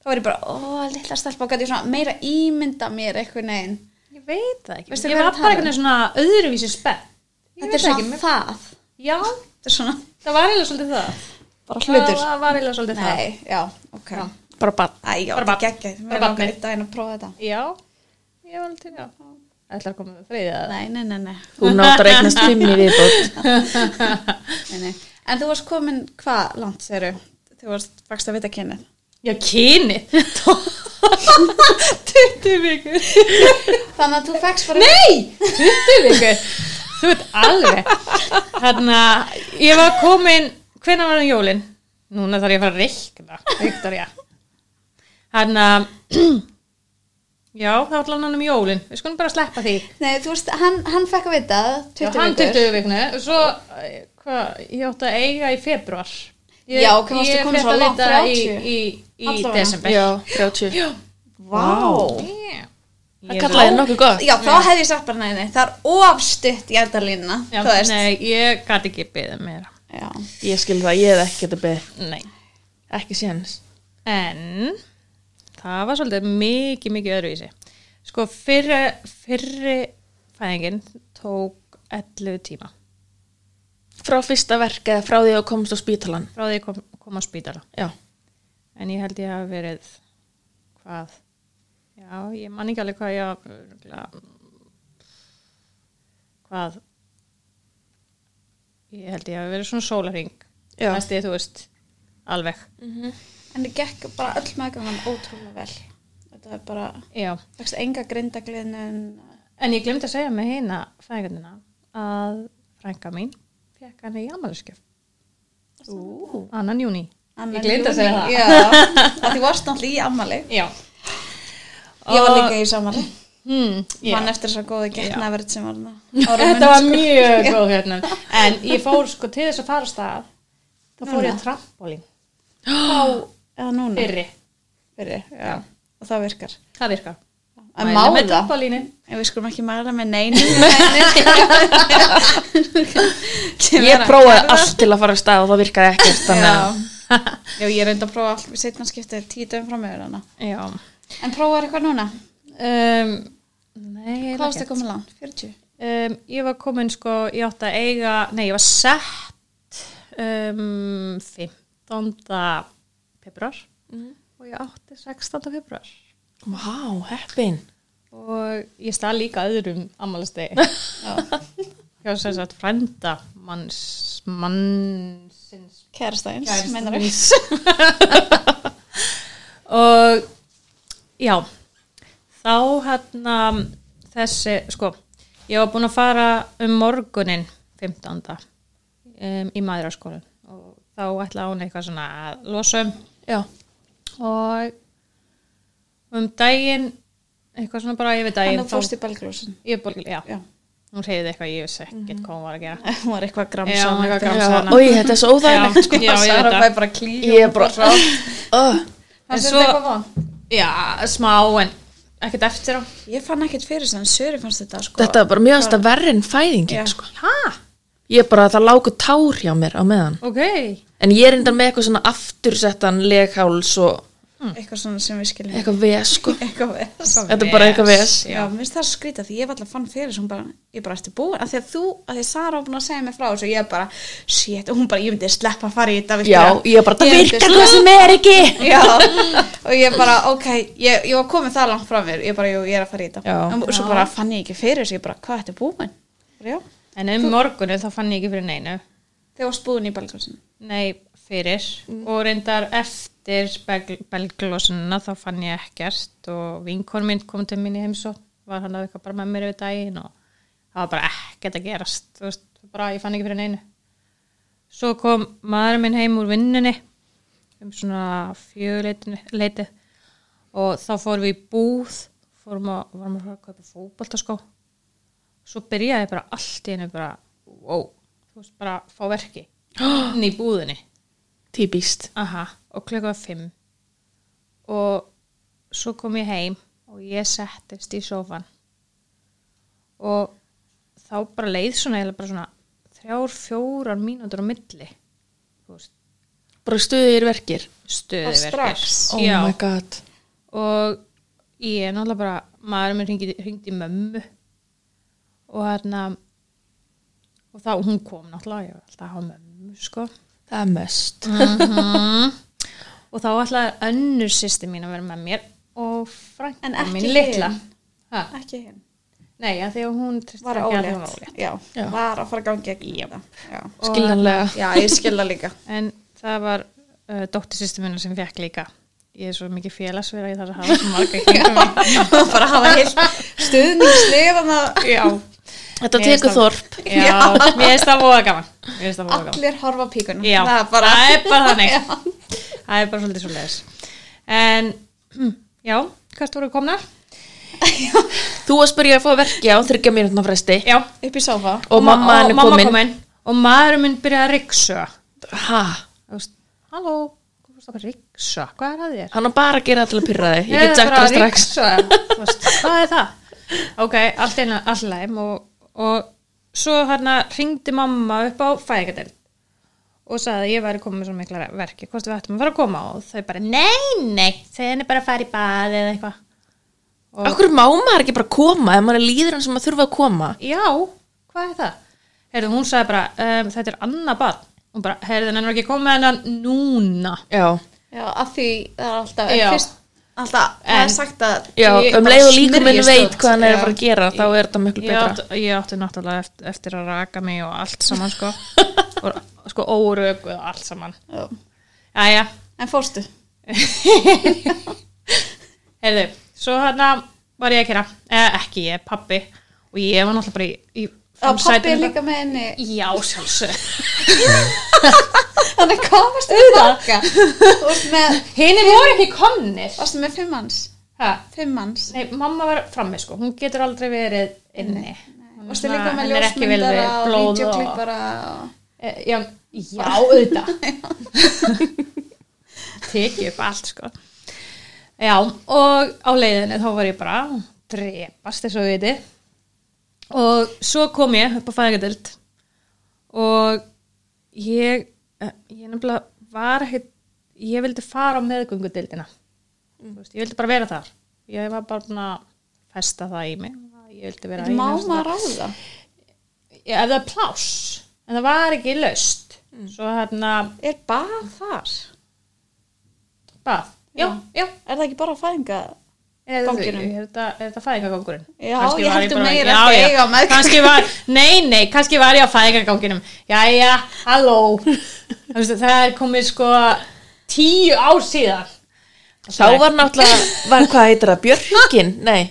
S2: þá var ég bara, ó, litla stelpa, og gæti ég svona meira ímynda mér eitthvað neginn.
S3: Ég veit það ekki.
S2: Veistu
S3: ég
S2: hvað
S3: var
S2: er að
S3: bara
S2: tala um?
S3: einhvern veginn svona öðruvísi spenn. Ég
S2: Þetta er
S3: veit það
S2: svona
S3: ekki, mér-
S2: það.
S3: Já,
S2: Þetta er svona
S3: það var eiginlega svolítið það.
S2: bara
S3: Það,
S2: hlutur.
S3: það var eiginlega svolítið það.
S2: Nei, já, ok.
S3: Já.
S1: bara bann
S2: Æ, já, þetta
S3: Bara barn.
S2: er geggjætt. Mér
S3: Bara
S2: langar
S3: barnið.
S2: eitt daginn að prófa þetta.
S3: Já, ég var alveg til, já. Ætlar að koma með þriðið að
S2: Nei, nei, nei, nei.
S1: Hún náttar eignast fimm í viðbót
S2: Nei, nei. En þú varst komin hvað langt, segir þú? Þú varst vakst að vita kynnið.
S3: Já, kyni. 20 vikur.
S2: Þannig að þú fegst bara...
S3: Nei, 20 vikur. Þú veit alveg. Þannig að ég var komin, hvenær var það jólin? Núna þarf ég að fara að reikna, Viktoria. Þannig að, já, þá ætlar hann um jólin. Við skulum bara sleppa því.
S2: Nei, þú veist, hann, hann fekk að vita það,
S3: Já,
S2: 20
S3: hann
S2: vikur.
S3: 20 vikna og svo, eh, hvað, ég átti að eiga í februar ég,
S2: Já, hvað varstu
S3: ég
S2: komin
S3: fékk
S2: svo
S3: að
S2: langt,
S3: vita í,
S2: 30?
S3: í, í
S2: Allavega.
S3: desember
S1: Já, 30
S2: Vá.
S3: Yeah.
S1: Það kallaði nokkuð gott
S2: Já, þá hefði ég sagt bara nei, nei. Það er ofstutt í endalínuna,
S3: Já,
S2: þú veist.
S3: nei, ég gæti ekki beðið um meira
S2: Já.
S1: Ég skil það, ég hef ekki þetta beð
S3: nei.
S1: Ekki séns
S3: en það var svolítið mikið, mikið öðruvísi sko, fyrri, fyrri fæðingin tók 11 tíma
S1: Frá fyrsta verk eða frá því að þú komst á spítalan
S3: frá því ég kom, kom á spítala
S1: Já,
S3: en ég held ég hafi verið hvað já, ég man ekki alveg hvað ég örugglega, hvað ég held ég hafi verið svona sólaring
S1: Já.
S3: næstið þú veist, alveg
S2: En það gekk bara öll meðgangan ótrúlega vel. Þetta er bara,
S3: já,
S2: fegst enga grindagliðnun.
S3: en ég glemt að segja með hina fæðingarnina að frænka mín fekk hann í amalurskjöf
S1: Ú.
S3: annan júni
S2: annan
S3: ég glemt að segja
S2: júní.
S3: það
S2: Já, að því varst náttúrulega í ammali.
S3: já,
S2: Ég var
S3: Og-
S2: líka í sammali.
S3: hmm,
S2: Yeah.
S3: já.
S2: Mann eftir þess að góða getnaverð sem var þarna. á rúminu,
S3: Þetta var
S2: sko.
S3: mjög góð hérna En ég fór sko til þess að fara af stað þá fór ég á trampolín
S2: Þá eða núna?
S3: fyrri,
S2: Fyrri, já. Og það virkar.
S3: það virkar
S2: Að
S3: Mæli með
S2: mála.
S3: trampolínu
S2: En við skulum ekki mæla með neinu. Sem er
S1: Ég
S2: að
S1: prófaði
S2: gerða.
S1: allt til að fara að stað og það virkaði ekkert þannig að
S2: Já, ég reyndi að prófa allt við setna skiptið tíu dögum frá mig hana.
S3: Já
S2: En prófaði eitthvað núna?
S3: um, Nei,
S2: Hvað varst það komið langt? 40?
S3: um, Ég var komin sko, ég átti að eiga Nei, ég var sett um, 15. februar og ég átti 16. februar
S1: Vá, heppin
S3: og ég stað líka öðrum ammálastegi
S2: Já.
S3: hjá sem sagt frænda manns, mannsins
S2: Kærastæðins,
S3: Kærastans.
S2: meinar við.
S3: og já þá hérna þessi, sko ég var búin að fara um morgunin 15. Um, í maðuraskólan og þá ætlaði hún eitthvað svona að losa um
S1: Já,
S3: og um daginn eitthvað svona bara yfir daginn
S2: Þannig að fórst í belglósin.
S3: í bólgil, já.
S2: Já.
S3: hún reyðið eitthvað, ég vissi ekkert
S2: Mhm.
S3: hvað hún var að gera
S2: Hún var eitthvað
S3: Já, hún var
S2: gramsam.
S3: eitthvað
S1: já,
S3: gramsam. Samsana.
S1: og þetta er svo óþægilegt sko.
S3: já, já,
S2: Sara
S3: já,
S2: fæ bara klíu.
S1: Ég er bara oh,
S3: En
S2: Fannst
S3: svo-
S2: þetta eitthvað vant?
S3: Já, smá en ekkert eftir á.
S2: Ég fann ekkert fyrir þess að Söri fannst þetta sko.
S1: Þetta var bara mjög aðstæð verri en fæðingin
S2: Já.
S1: sko.
S3: Hæ?
S1: Ég bara, það lágu tár hjá mér á meðan
S3: Ok.
S1: En ég er endan með eitthvað svona aftursettan legháls og
S2: eitthvað svona sem við skiljum.
S1: eitthvað veð sko.
S2: Eitthvað við.
S1: Þetta er bara eitthvað ves.
S2: Já, mér finnst það svo skrítið því ég var alltaf fann fyrir sem bara, ég bara eftir búin að því að þú, að því að Sara var búin að segja mig frá þessu ég bara, shit, og hún bara, ég myndi sleppa að fara í þetta
S1: Já,
S2: virkilega.
S1: ég er bara, það
S2: myndi
S1: virkar
S2: sleppa-
S1: hvað sem er ekki
S2: Já, og ég bara, ok, ég, ég var komið það langt frá mér, ég bara, jú, ég er að fara í þetta
S1: Já.
S2: og svo bara fann ég ekki fyrir þessu, ég bara, hvað þetta er búin? Bara, já,
S3: En um morgunu þá fann ég ekki fyrir neinu.
S2: þegar var spúin í balkansin
S3: Nei, fyrir. Og reyndar eftir belg- belglosunina þá fann ég ekkert og vinkon minn kom til mín í heimsó. Var hann að eitthvað bara með mér við daginn og það var bara ekkert að gerast þú veist, bara ég fann ekki fyrir neinu svo kom maður minn heim úr vinnunni um svona fjöguleitið og þá fórum við í búð fórum að, varum að fara að kaupa fótboltaskó svo byrjaði bara allt í einu bara, wow þú veist, bara fá verki inn í búðinni
S1: Típist.
S3: Aha, og klukka var fimm og svo kom ég heim og ég settist í sófan og þá bara leið svona, eiginlega bara svona þrjár, fjórar mínútur á milli þú veist,
S1: Bara stuðir verkir.
S3: stöðuverkir
S2: strax?
S1: Oh
S3: Já.
S1: my god.
S3: og ég er náttúrulega bara maður minn hringdi, hringdi í mömmu og hérna og þá hún kom náttúrulega ég var alltaf að hafa mömmu sko
S1: Það er möst.
S3: og þá ætlaði önnur sýsti mín að vera með mér
S2: En
S3: og frænka
S2: ekki
S3: mín
S2: hin.
S3: litla ha,
S2: ekki hinn
S3: nei, að því að hún treysti
S2: var
S3: ekki hérna, að því að hún
S2: ólétt,
S3: var ólétt
S2: Já,
S1: Já.
S2: var að fara að gangi ekki yep. já.
S1: Skiljanlega.
S2: já, ég skilja líka
S3: en það var uh, dóttir sýsti mín sem fekk líka ég er svo mikið félagsverð að ég þarf að hafa svo marga kringum mig
S2: bara að hafa heilt stuðningslið þannig
S3: já,
S1: Þetta
S3: Ég
S1: tekur
S3: veist það.
S1: þorp.
S3: já, mér finnst það voða gaman mér finnst það
S2: að
S3: voða gaman
S2: allir horfa á píkuna
S3: Já,
S2: það er bara,
S3: þannig Það er bara svolítið svo leiðis En, hm, já, hvert voru komnar?
S1: Þú varst byrjað að fá verki á þryggja mínútna fresti
S3: Já,
S2: upp í sófa
S1: og mamma henni
S3: mamma
S1: komin.
S3: komin Og maðurinn minn byrjaði að ryksuga
S1: Ha,
S3: Þú veist, halló, hvað fórst að ryksuga? Hvað er að þér?
S1: hann á bara að gera það til að pyrra þig. Ég
S3: er
S1: get sagt
S3: bara
S1: það
S3: að
S1: strax.
S3: ryksuga. Þú veist, Hvað er það? Ok, allt einu, allt læm og, og svo hérna ringdi mamma upp á fæðingadeild og sagði að ég væri komið með svona mikla verki hvort við ættum að fara að koma og þau bara nei, nei, þau henni bara að fara í bað eða eitthvað Og-
S1: Akkur má maður ekki bara koma ef maður líður hann sem maður þurfa að koma.
S3: já, hvað er það? Heyrðu, hún sagði bara, um, þetta er annað barn. Hún bara, heyrðu, hann er ekki komið hennan núna.
S1: Já,
S2: já, að því það er alltaf
S3: Já.
S2: fyrst, alltaf, það er sagt að
S1: já
S2: ég
S1: um
S2: bara
S1: leið og líka minn
S2: smyrjist
S1: veit
S2: út.
S1: hvað hann er að
S2: Já.
S1: fara að gera, þá er þetta miklu
S3: Ég
S1: betra.
S3: átti, ég átti náttúrulega eftir, eftir að raka mig og allt saman, sko. og, sko, órökuð og allt saman.
S2: Já.
S3: Jæja,
S2: en fórstu
S3: heyrðu, svo hérna var ég að kera. Eh, ekki ég, pappi. Og ég var náttúrulega bara í, í
S2: og pappi er
S3: framsætinu.
S2: líka með henni
S3: Já, sjálfsög.
S2: þannig komast við þakka þú varst með,
S3: Hinir voru ekki komnir.
S2: varstu með fimm manns
S3: Ha,
S2: fimm manns
S3: nei, mamma var frammi, sko. Hún getur aldrei verið inni. Hún er
S2: varstu
S3: svona-
S2: líka með
S3: henni er ekki vel
S2: ljósmyndara
S3: við
S2: og
S3: blóð og-
S2: videoklippara og-
S3: Eh, Já, já auðvitað Tekið upp allt sko Já, og á leiðinni þá var ég bara að drepast þess að við þið og svo kom ég upp á fæðingadöld og ég eh, ég nefnilega var ekkert ég vildi fara á meðgöngudildina mm. veist, ég vildi bara vera þar ég var bara búin að festa það í mig ég vildi vera í
S2: má
S3: neðstu
S2: maður ráða
S3: Já, ef það er pláss en það var ekki laust svo hérna
S2: er bara þar
S3: bað já, já,
S2: er það ekki bara að fæðinga
S3: Er þetta-
S2: Ganginum.
S3: er þetta, er þetta fæðingagangurinn?
S2: Já,
S3: Kannski
S2: ég
S3: var
S2: held þú
S3: bara-
S2: meir
S3: Já,
S2: ekki
S3: já.
S2: eiga með-
S3: Kannski var, nei, nei, kannski var ég á fæðingaganginum Jæja, halló Þú veist, Það er komið sko tíu ár síðan
S1: Þá var náttúrulega, var hvað heitir það, Björkin? Nei,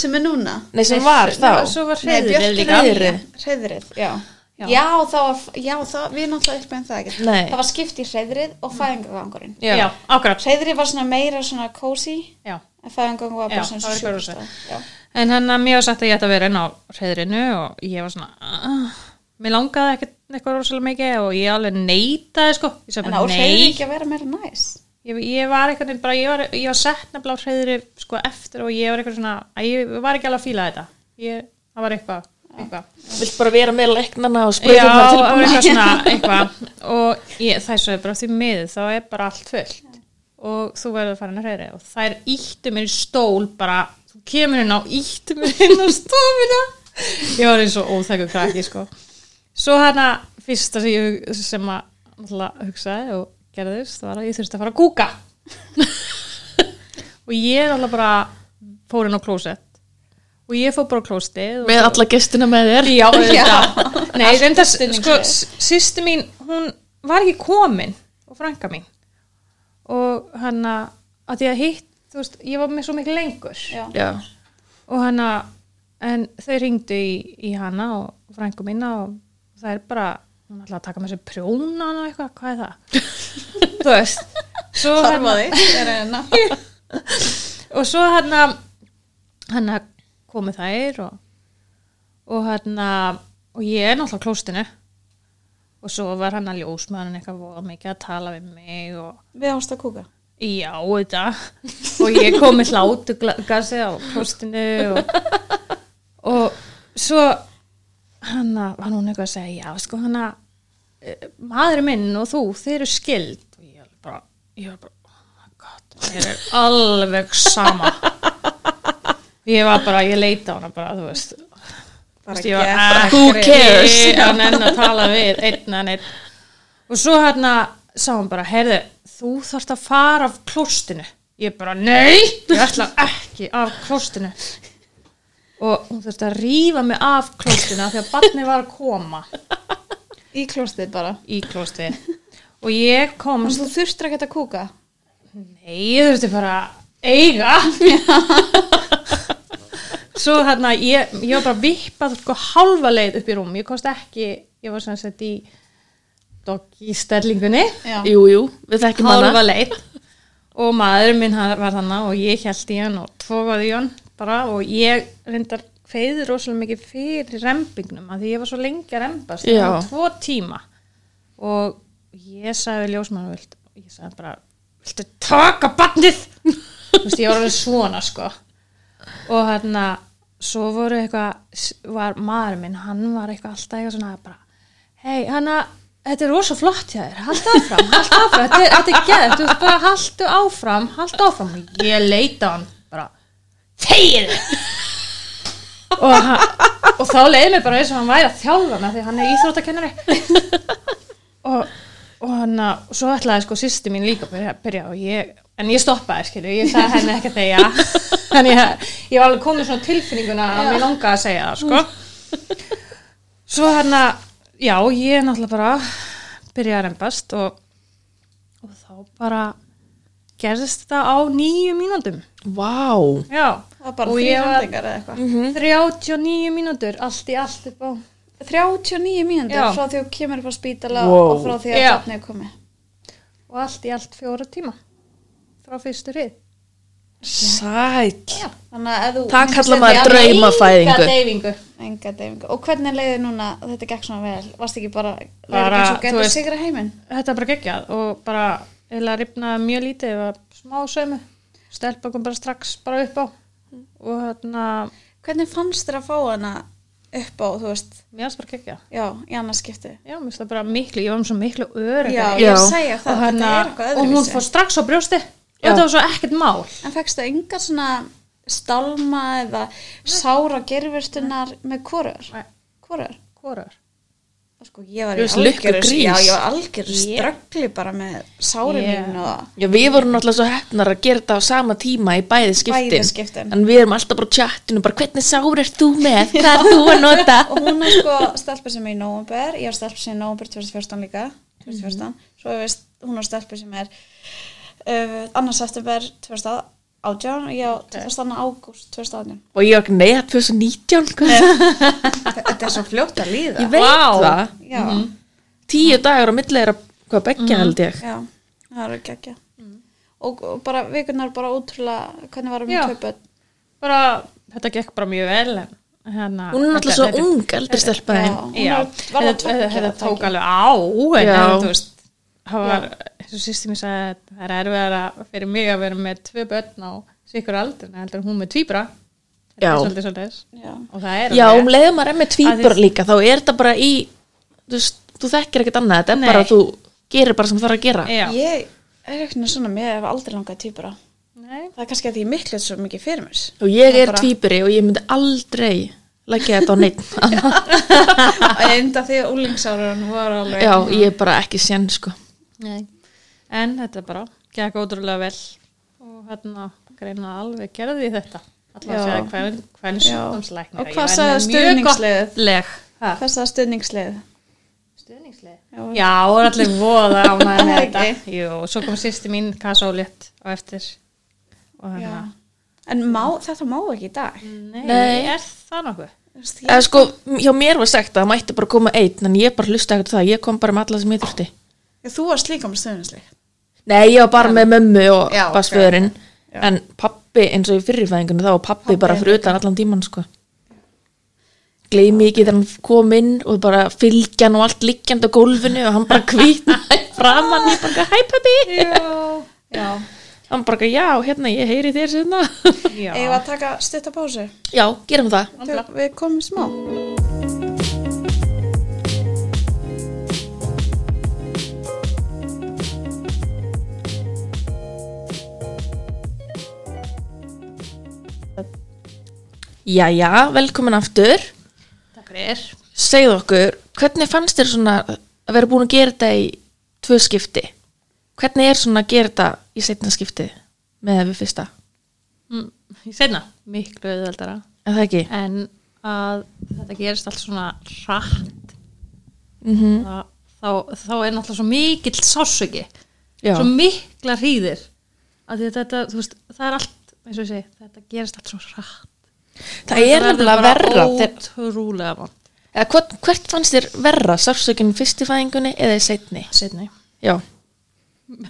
S2: sem er núna
S1: nei sem var þá.
S3: Svo var
S2: Nei,
S3: hreiðrið
S2: Björk
S3: líka
S2: er
S1: Hreiðrið.
S2: nýja. Hreiðrið, já
S3: Já.
S2: Já, það var, já það, við náttúrulega upplegum það ekki
S1: Nei.
S2: Það var skipt í hreiðrið og fæðingagangurinn
S1: Já.
S3: Já, akkurat
S2: Hreiðrið var svona meira svona cozy
S3: Já
S2: en fæðingangur var
S3: Já,
S2: bara svona
S3: það var eitthvað
S2: sjúkrastað. Já.
S3: En hann að mér var sagt að ég ætti að vera inn á hreðrinu og ég var svona "Ah, Mér langaði ekkert eitthvað rosalega mikið og ég alveg neitaði sko Ég sagði
S2: En á
S3: bara
S2: hreiðrið
S3: nei
S2: ekki að vera meira næs
S3: ég, ég var eitthvað bara, ég var, ég var sett nefnilega á hreðri sko eftir og ég var eitthvað svona að ég var ekki alveg að fíla þetta ég, Það var eitthvað, eitthvað
S1: Vilt bara vera með leiknana og
S3: Já,
S1: sprautum það
S3: það var
S1: tilbúin.
S3: eitthvað svona eitthvað og ég, það er svo bara því miður þá er bara allt fullt og þú verður að fara inn á hreðri og þær íttu mér í stól bara, þú kemur inn á íttu mér inn á stofuna ég var eins og óþægur krakki sko svo hérna fyrsta sem ég sem að náttúrulega hugsaði og gerðist var að ég þurfti að fara að kúka og ég er alveg bara fór inn á klósett og ég fór bara á klóstið og
S1: Með alla gestina með þér.
S3: Já, auðvitað. Nei, reynda, sko,
S2: stuðningslið.
S3: sýsti mín, hún var ekki komin og frænka mín. Og hann að því að hitt, þú veist, ég var með svo mikið lengur.
S2: Já.
S1: Já.
S3: Og hann að en þau ringdu í, í hana og frængu mína og það er bara, hún ætlaði að taka með sér prjónan og eitthvað, hvað er það? þú veist svo hérna-
S2: Þarfaði, er enna.
S3: og svo hérna hérna komu þær og, og hérna og ég er náttúrulega á klóstinu og svo var hann að ljós með hann eitthvað voða mikið að tala við mig og
S2: Við ást að kúka.
S3: já þetta og ég kom með hlátugassi á klóstinu og, og svo hann var hún eitthvað að segja já sko hann að maður eh, minn og þú þeir eru skild og ég var bara, ég var bara oh my god, þeir eru alveg sama ég var bara, ég leita á hana bara, þú veist Þú veist, ég var,
S2: gekk.
S3: "Ah, who cares hann enn að tala við, einn en einn og svo hérna sá hann bara, heyrðu, þú þarft að fara af klóstinu, ég bara, nei ég ætla ekki af klóstinu og hún þurfti að rífa mig af klóstinu af því að barni var að koma
S2: Í klostið bara.
S3: í klósti og ég
S2: En
S3: komst
S2: þú þurftir ekki að kúka.
S3: Nei, ég þurfti bara að eiga Svo hérna, ég, ég var bara vippað sko halva leið upp í rúm Ég komst ekki, ég var svona sett í doggi sterlingunni
S2: Já.
S1: Jú, jú, við þekkjum
S3: Halva
S1: hana
S3: leið Og maðurinn minn hann var þannig og ég held í hann og tvogaði í hann bara og ég reyndar feiði rosalega mikið fyrir rembingnum að því ég var svo lengi að rembast
S1: Já.
S3: það var tvo tíma og ég sagði við ljósmann vilt, ég sagði bara, viltu taka barnið? þú veist, ég var alveg svona sko og hérna svo voru eitthvað, s- var maður minn hann var eitthvað alltaf eitthvað svona bara, hei, hana, þetta er rosa flott hjá þér, haltu áfram, haltu áfram þetta er, þetta er geðt, þú veist, bara haltu áfram haltu áfram, og ég leita á hann bara, þegið og, hann- og þá leiði mér bara eins og hann væri að þjálfa hann af því að hann er íþróttakennari og, og hann að- og svo ætlaði sko sýsti mín líka að byrja, byrja og ég, en ég stoppaði skilju ég sagði henni ekki að þegja en ég, ég var alveg komið svona tilfinninguna að mér langaði að segja það sko svo hérna já, ég er náttúrulega bara byrjaði að rembast og, og þá bara gerðist þetta á nýju mínúndum
S1: Vá,
S3: já,
S2: Það var bara
S3: og
S2: þrjir
S3: ég var
S2: hendingar eða
S3: Mhm.
S2: eitthvað.
S3: 39 mínútur, allt í allt upp á
S2: 39 mínútur
S3: Já.
S2: frá því að þú kemur upp á spítala
S1: Wow.
S2: og frá því að
S3: Já.
S2: barnið er komið.
S3: og allt í allt fjóra tíma frá fyrstu rið
S1: sæl
S2: Þannig að ef þú...
S1: Það
S2: myndir
S1: kallar
S2: setja-
S1: maður draumafæðingu
S3: Enga deyfingu
S2: Enga deyfingu. Og hvernig leiði núna að þetta gekk svona vel? Varst ekki bara, leiðir
S3: Bara,
S2: ekki svo
S3: þú
S2: gætið
S3: veist-
S2: sigra heiminn?
S3: Þetta er bara geggjað og bara eða ripnaði mjög lítið, það var smá sömu stelpa kom bara strax bara upp á og hérna
S2: Hvernig fannst þér að fá hana upp á, þú veist,
S3: mér varst bara geggjað
S2: já, í annars skipti?
S3: Já, mér finnst það bara miklu, ég var með svo miklu örygg
S2: Já,
S1: Já.
S2: ég er að segja
S3: og,
S2: það, þetta
S3: hana,
S2: er eitthvað
S3: og hún
S2: öðruvísi.
S3: fór strax á brjósti og
S1: Já.
S3: þetta var svo ekkert mál
S2: En fegst það enga svona stálma eða sára gerfurstunar með korur?
S3: Nei.
S2: Korur?
S3: Hvorar?
S2: Sko, ég var
S1: Þú
S2: í
S1: veist, lukku
S2: algjöru,
S1: grís.
S2: já, ég var algjöru
S3: Yeah.
S2: ströggli bara með sárin
S3: Yeah.
S2: mín og
S1: Já, við vorum náttúrulega svo hefnar að gera þetta á sama tíma í bæði skiptin.
S2: Bæði skiptin.
S1: En við erum alltaf bara á chatinu, bara hvernig sár er þú með? Hvað er þú að nota?
S2: og hún er sko stelpa sem er í nóvumber ég er stelpa sem er í nóvumber 2014 líka 2014, svo er veist hún er stelpa sem er uh, annars september 2018 og ég á 22. ágúst 2018
S1: Og ég var ekki með 2019, hvað?
S2: þetta er svo fljótt að líða
S1: Ég veit
S3: Vá.
S1: það.
S2: já,
S3: Mhm.
S1: Tíu dagar á milli er að, hvað, beggja held ég.
S2: já, það eru ekki ekki
S3: Mhm.
S2: og, og bara vikunar bara ótrúlega hvernig varum
S3: Já.
S2: við töpöld
S3: Bara, þetta gekk bara mjög vel en hérna, hana,
S1: Hún er náttúrulega svo ung, eldri stelpaðin.
S2: Já. Hún
S3: Já,
S2: var- var það
S3: þetta-
S2: tveggja
S3: þetta
S2: eða
S3: tók
S2: tveggja?
S3: alveg á en
S1: Já.
S3: en þú veist það var, eins og sýstum ég sagði að það er erfiðara fyrir mig að vera með tvö börn á sikur aldrun, heldur en hún með tvíbra Þetta er
S1: Já.
S3: svolítið svolítið
S2: já,
S3: og það er
S1: Já,
S3: alveg-
S1: um leiðum maður er með tvíbur
S3: Aðeins-
S1: líka, þá er þetta bara í, þú veist, þú þekkir ekkert annað, þetta er
S3: Nei.
S1: bara að þú gerir bara sem það að gera.
S3: Já.
S2: ég er eitthvað svona mér hef aldrei langað týpura
S3: Nei.
S2: það er kannski að því ég miklu svo mikið fyrir mér
S1: Og ég
S2: Það
S1: er
S2: bara-
S1: tvíburi og ég myndi aldrei leggja þetta á neitt.
S2: enda því að úlingsárun var alveg
S1: Já, ég er bara ekki sén, sko.
S3: Nei. en þetta bara gekk ótrúlega vel og hérna greina alveg gerði þetta alltaf að
S2: Já.
S3: segja hvern, hvern
S2: Já.
S3: sjúkdómslæknir
S2: Og hvað sagði stuðningsliðið?
S3: leg Ha?
S2: Hvað sagði stuðningslið?
S3: Stuðningslið?
S2: Já.
S3: Já, og allir voða ánægði með
S2: Það
S3: þetta.
S2: ekki.
S3: Jú, og svo kom sýsti mín kassólétt á eftir. Og hérna,
S2: En má, þetta má ekki í dag.
S3: nei,
S1: Nei.
S3: er það nokkuð?
S2: Veist,
S1: Eða sko, hjá mér var sagt að það mætti bara koma einn en ég bara hlusta ekkert á það, ég kom bara með alla sem ég þurfti
S2: ég, þú varst líka með stöðunisleik
S1: Nei, ég var bara með mömmu og
S2: Já,
S1: basföðurinn
S2: Já.
S1: en pappi, eins og í fyrirfæðingunni þá var pappi,
S2: Pabbi
S1: bara
S2: er
S1: fyrir utan allan tíman sko. gleymi ekki þegar hann kom inn og bara fylgjan og allt liggjand á gólfinu og hann bara kvítna framan, ég bara, hæ pappi
S3: Já.
S2: Já,
S1: hann bara, já, hérna, ég heyri þér sérna
S3: Já.
S2: eigum við að taka stutta pásu
S1: já, gerum það
S2: Þegar við komum smá
S1: Jæja, velkomin aftur
S3: Takk fyrir.
S1: segðu okkur, hvernig fannst þér svona að vera búin að gera þetta í tvö skipti hvernig er svona að gera þetta í setna skipti með við fyrsta,
S3: Mm, ég segna, miklu auðveldara.
S1: en það ekki
S3: En að þetta gerist allt svona hratt,
S1: mm
S3: það, þá, þá er náttúrulega svo mikill sásöki.
S1: Já,
S3: Svo mikla hríðir. Af því að Þetta, þú veist, það er allt, eins og ég segi, þetta gerist allt svo hratt.
S1: það er nefnilega verra þegar,
S3: Ótrúlega vant.
S1: eða, hvort, hvert fannst þér verra sársökinn fyrst í fæðingunni eða í setni
S3: Setni.
S1: já,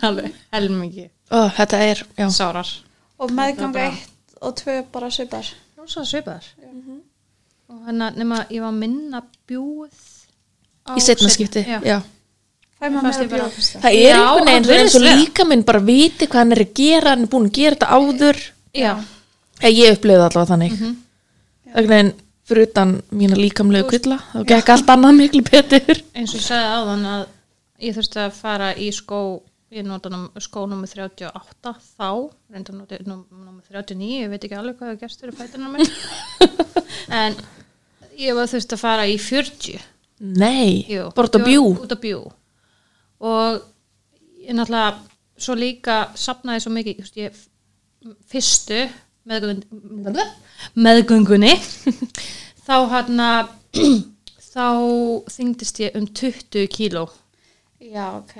S3: Alveg, helmingi.
S1: Ó, þetta er já.
S3: Sárar.
S2: Og meðganga eitt og tvö bara svipar
S3: Það var svona svipaðar. Og hann að, nema, ég var að minna bjúið á
S1: í setna
S3: seinna.
S1: skipti já.
S3: Já.
S2: Fæ maður
S3: Fannst
S2: meira
S3: ég bara-
S2: bjóð fyrst
S1: það er
S3: Já,
S1: einhvern veginn það
S3: það
S1: er eins og
S3: virðist
S1: líka minn bara viti hvað hann er að gera hann er búin að gera þetta áður
S3: Já.
S1: eða, Eh, ég upplöði allavega þannig
S3: Mhm.
S1: mm einhvern veginn fyrir utan mína líkamlegu kvilla þá gekk allt annað miklu betur
S3: eins og ég sagði áðan að ég þurfti að fara í skó ég nota num, skó nummer 38 þá, reynda nota num, nummer 39 ég veit ekki alveg hvað það gerst fyrir fætina mér en ég var þurfti að fara í 40
S1: nei,
S3: Jú,
S1: bara út á
S3: ég var
S1: bjú
S3: út á bjú og ég náttúrulega svo líka sapnaði svo mikið just, ég, fyrstu meðgöngunni, meðgöngunni þá hann þá þyngdist ég um 20 kíló
S2: Já, ok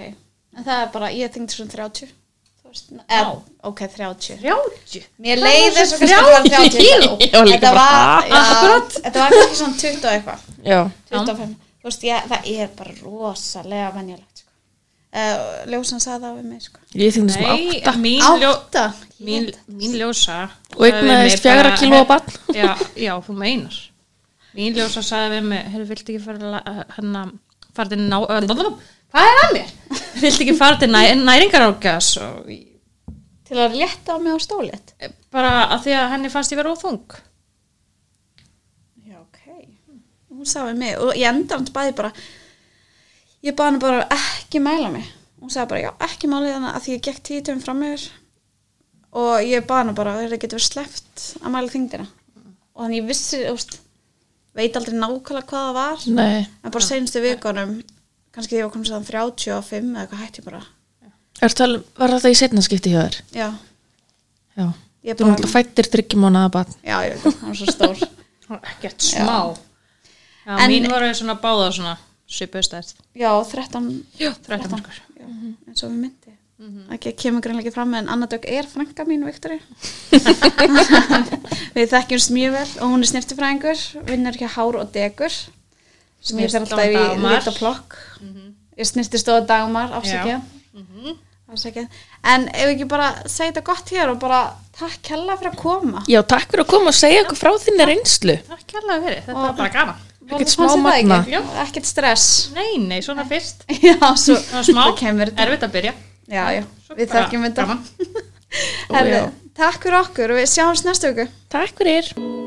S2: En það er bara, ég þyngd svona 30 Þú veist, eð, ok, 30
S3: 30?
S2: Mér
S3: Það
S2: leið
S3: var
S2: þess að
S3: svo
S2: kannski það var
S3: 30
S2: 30
S3: kíló.
S1: Ég var líka
S2: Þetta
S1: bara,
S2: var,
S3: "Ha?"
S2: já,
S3: Akkurat.
S2: þetta var kannski svona 20 og eitthvað
S1: já,
S2: 25, þú veist, ég, það er bara rosalega venjulegt sko. uh, Ljósan sagði það við mig sko.
S1: ég þyngdi sem
S3: Nei,
S1: átta
S3: mín, ljó,
S2: Átta
S3: mín, mín ljósa
S1: Og eignaðist
S3: sagði við mig
S1: fjögurra kílóa
S3: bara-
S1: barn.
S3: já, já, þú meinar Mín ljósa sagði við mig Hefur, viltu ekki fara la- eh, hérna fara til ná eh, blablabla, Hvað er að mér? Viltu ekki fara til næ, næringarákjas og í-
S2: Til að létta á mig á stólið
S3: eh, bara að því að henni fannst ég vera óþung
S2: Já, ok Hún sagði við mig og ég endamt bæði bara Ég baði hann bara ekki mæla mig Hún sagði bara, já, ekki málið hana að því ég gekk títum fram yfir og ég baði hann bara, það getur verið sleppt að mæla þyngdina og þannig ég vissi, þú veist veit aldrei nákvæmlega hvað það var
S1: nei
S2: en bara seinustu vikunum kannski því ég var komin sér 35 eða eitthvað hætti ég bara
S1: Er tal, var þetta í setna skipti hjá þér?
S2: já,
S1: Já.
S2: Ég
S1: Þú
S2: bara-
S1: náttúrulega fættir þryggjum mánaða barn.
S2: já, ég veit það, hann var svo stór
S3: Ekkert smá já,
S2: En-
S3: Mín voru svona báða svona svipustæð
S2: já, 13
S3: Já, 13
S2: 13,
S3: markur
S2: já, eins og við myndi
S3: Mhm.
S2: ekki kemur greinlega ekki fram en Anna Dögg er frænka mín, Viktori við þekkjumst mjög vel og hún er snirtifræðingur vinnur ekki hár og degur sem ég fer
S3: Snyrtistofan
S2: alltaf í
S3: Dagmar. Mhm.
S2: lit og plokk ég snirtist á dagmar, afsækja afsækja en ef ekki bara segja þetta gott hér og bara takk hella fyrir að koma
S1: Já, takk fyrir að koma og segja okkur frá þinni reynslu.
S3: Takk kærlega fyrir, þetta
S2: Og-
S3: var bara gaman
S1: Ekkert
S2: Fannst þér það ekki?
S1: smámagna.
S3: Já.
S2: ekkert stress
S3: Nei, nei, svona fyrst
S2: já, svo,
S3: Svona smá,
S2: svo kemur þetta
S3: erfitt að byrja
S2: já, já,
S3: Svo
S2: við
S3: bara
S2: þekkjum þetta
S3: gaman.
S1: Ó, já.
S2: Herðu, takk fyrir okkur og við sjáumst næstu viku
S1: Takk fyrir.